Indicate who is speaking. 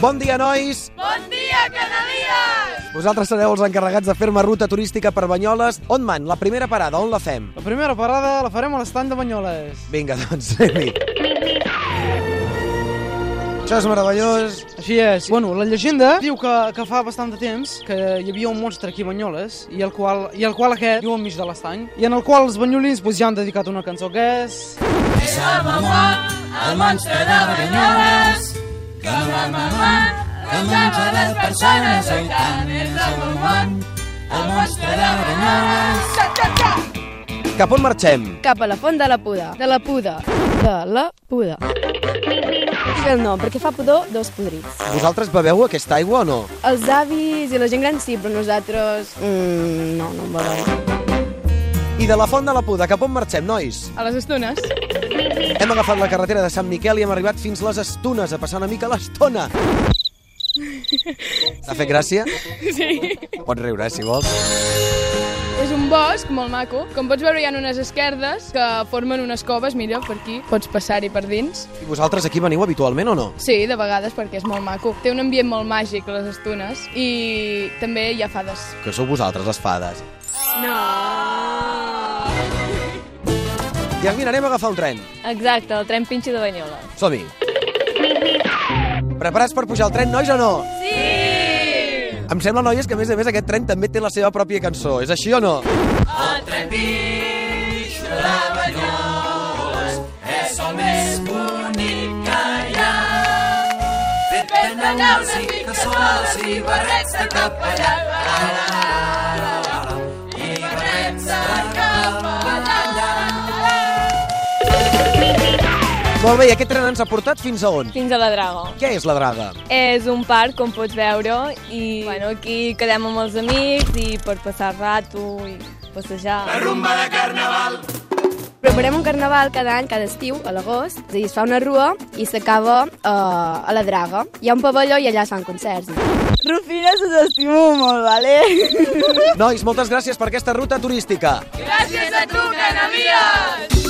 Speaker 1: Bon dia, nois!
Speaker 2: Bon dia, Canalies!
Speaker 1: Vosaltres sereu els encarregats de fer-me ruta turística per Banyoles. On man? La primera parada, on la fem?
Speaker 3: La primera parada la farem a l'estand de Banyoles.
Speaker 1: Vinga, doncs, anem-hi. Això és meravellós.
Speaker 3: Així és. Bueno, la llegenda diu que, que fa bastant de temps que hi havia un monstre aquí a Banyoles i el qual, i el qual aquest viu enmig de l'estany i en el qual els banyolins pues, ja han dedicat una cançó que és...
Speaker 2: És el mamà, el monstre de Banyoles, que amb la mamà que menja les persones, oi tant, és el mamà, el monstre de Banyoles.
Speaker 1: Cap on marxem?
Speaker 4: cap a la font de la Puda. De la Puda. De la Puda. Bé el nom, perquè fa pudor dos podrits.
Speaker 1: Vosaltres beveu aquesta aigua o no?
Speaker 4: Els avis i la gent gran sí, però nosaltres... Mm, no, no en volem.
Speaker 1: I de la Font de la Puda, cap on marxem, nois?
Speaker 4: A les estones.
Speaker 1: Hem agafat la carretera de Sant Miquel i hem arribat fins les Estunes, a passar una mica l'estona. T'ha fet gràcia?
Speaker 5: Sí.
Speaker 1: Pots riure, eh, si vols.
Speaker 5: És un bosc molt maco. Com pots veure, hi ha unes esquerdes que formen unes coves, millor per aquí. Pots passar-hi per dins.
Speaker 1: I vosaltres aquí veniu habitualment o no?
Speaker 5: Sí, de vegades, perquè és molt maco. Té un ambient molt màgic, les estones. I també hi ha fades.
Speaker 1: Que sou vosaltres, les fades. No! I Jasmine, anem a agafar un tren.
Speaker 6: Exacte, el tren pinxi de Banyoles.
Speaker 1: Som-hi. Preparats per pujar al tren, nois, o no? Sí! Em sembla, noies, que a més a més aquest tren també té la seva pròpia cançó. És així o no?
Speaker 2: El tren bix de Banyoles és el més bonic que hi ha. Fet de naus i cassoles i barrets de capellà. La, la, la, la, la, la. I barrets de capellà.
Speaker 1: Molt bé, i aquest tren ens ha portat fins a on?
Speaker 6: Fins a la Drago.
Speaker 1: Què és la draga?
Speaker 6: És un parc, com pots veure, i bueno, aquí quedem amb els amics i per passar rato i passejar.
Speaker 2: Rumba de carnaval.
Speaker 4: Preparem un carnaval cada any, cada estiu, a l'agost, i es fa una rua i s'acaba eh, a la Draga. Hi ha un pavelló i allà es fan concerts. Rufina, se t'estimo molt, vale?
Speaker 1: Nois, moltes gràcies per aquesta ruta turística.
Speaker 2: Gràcies a tu, Canalies!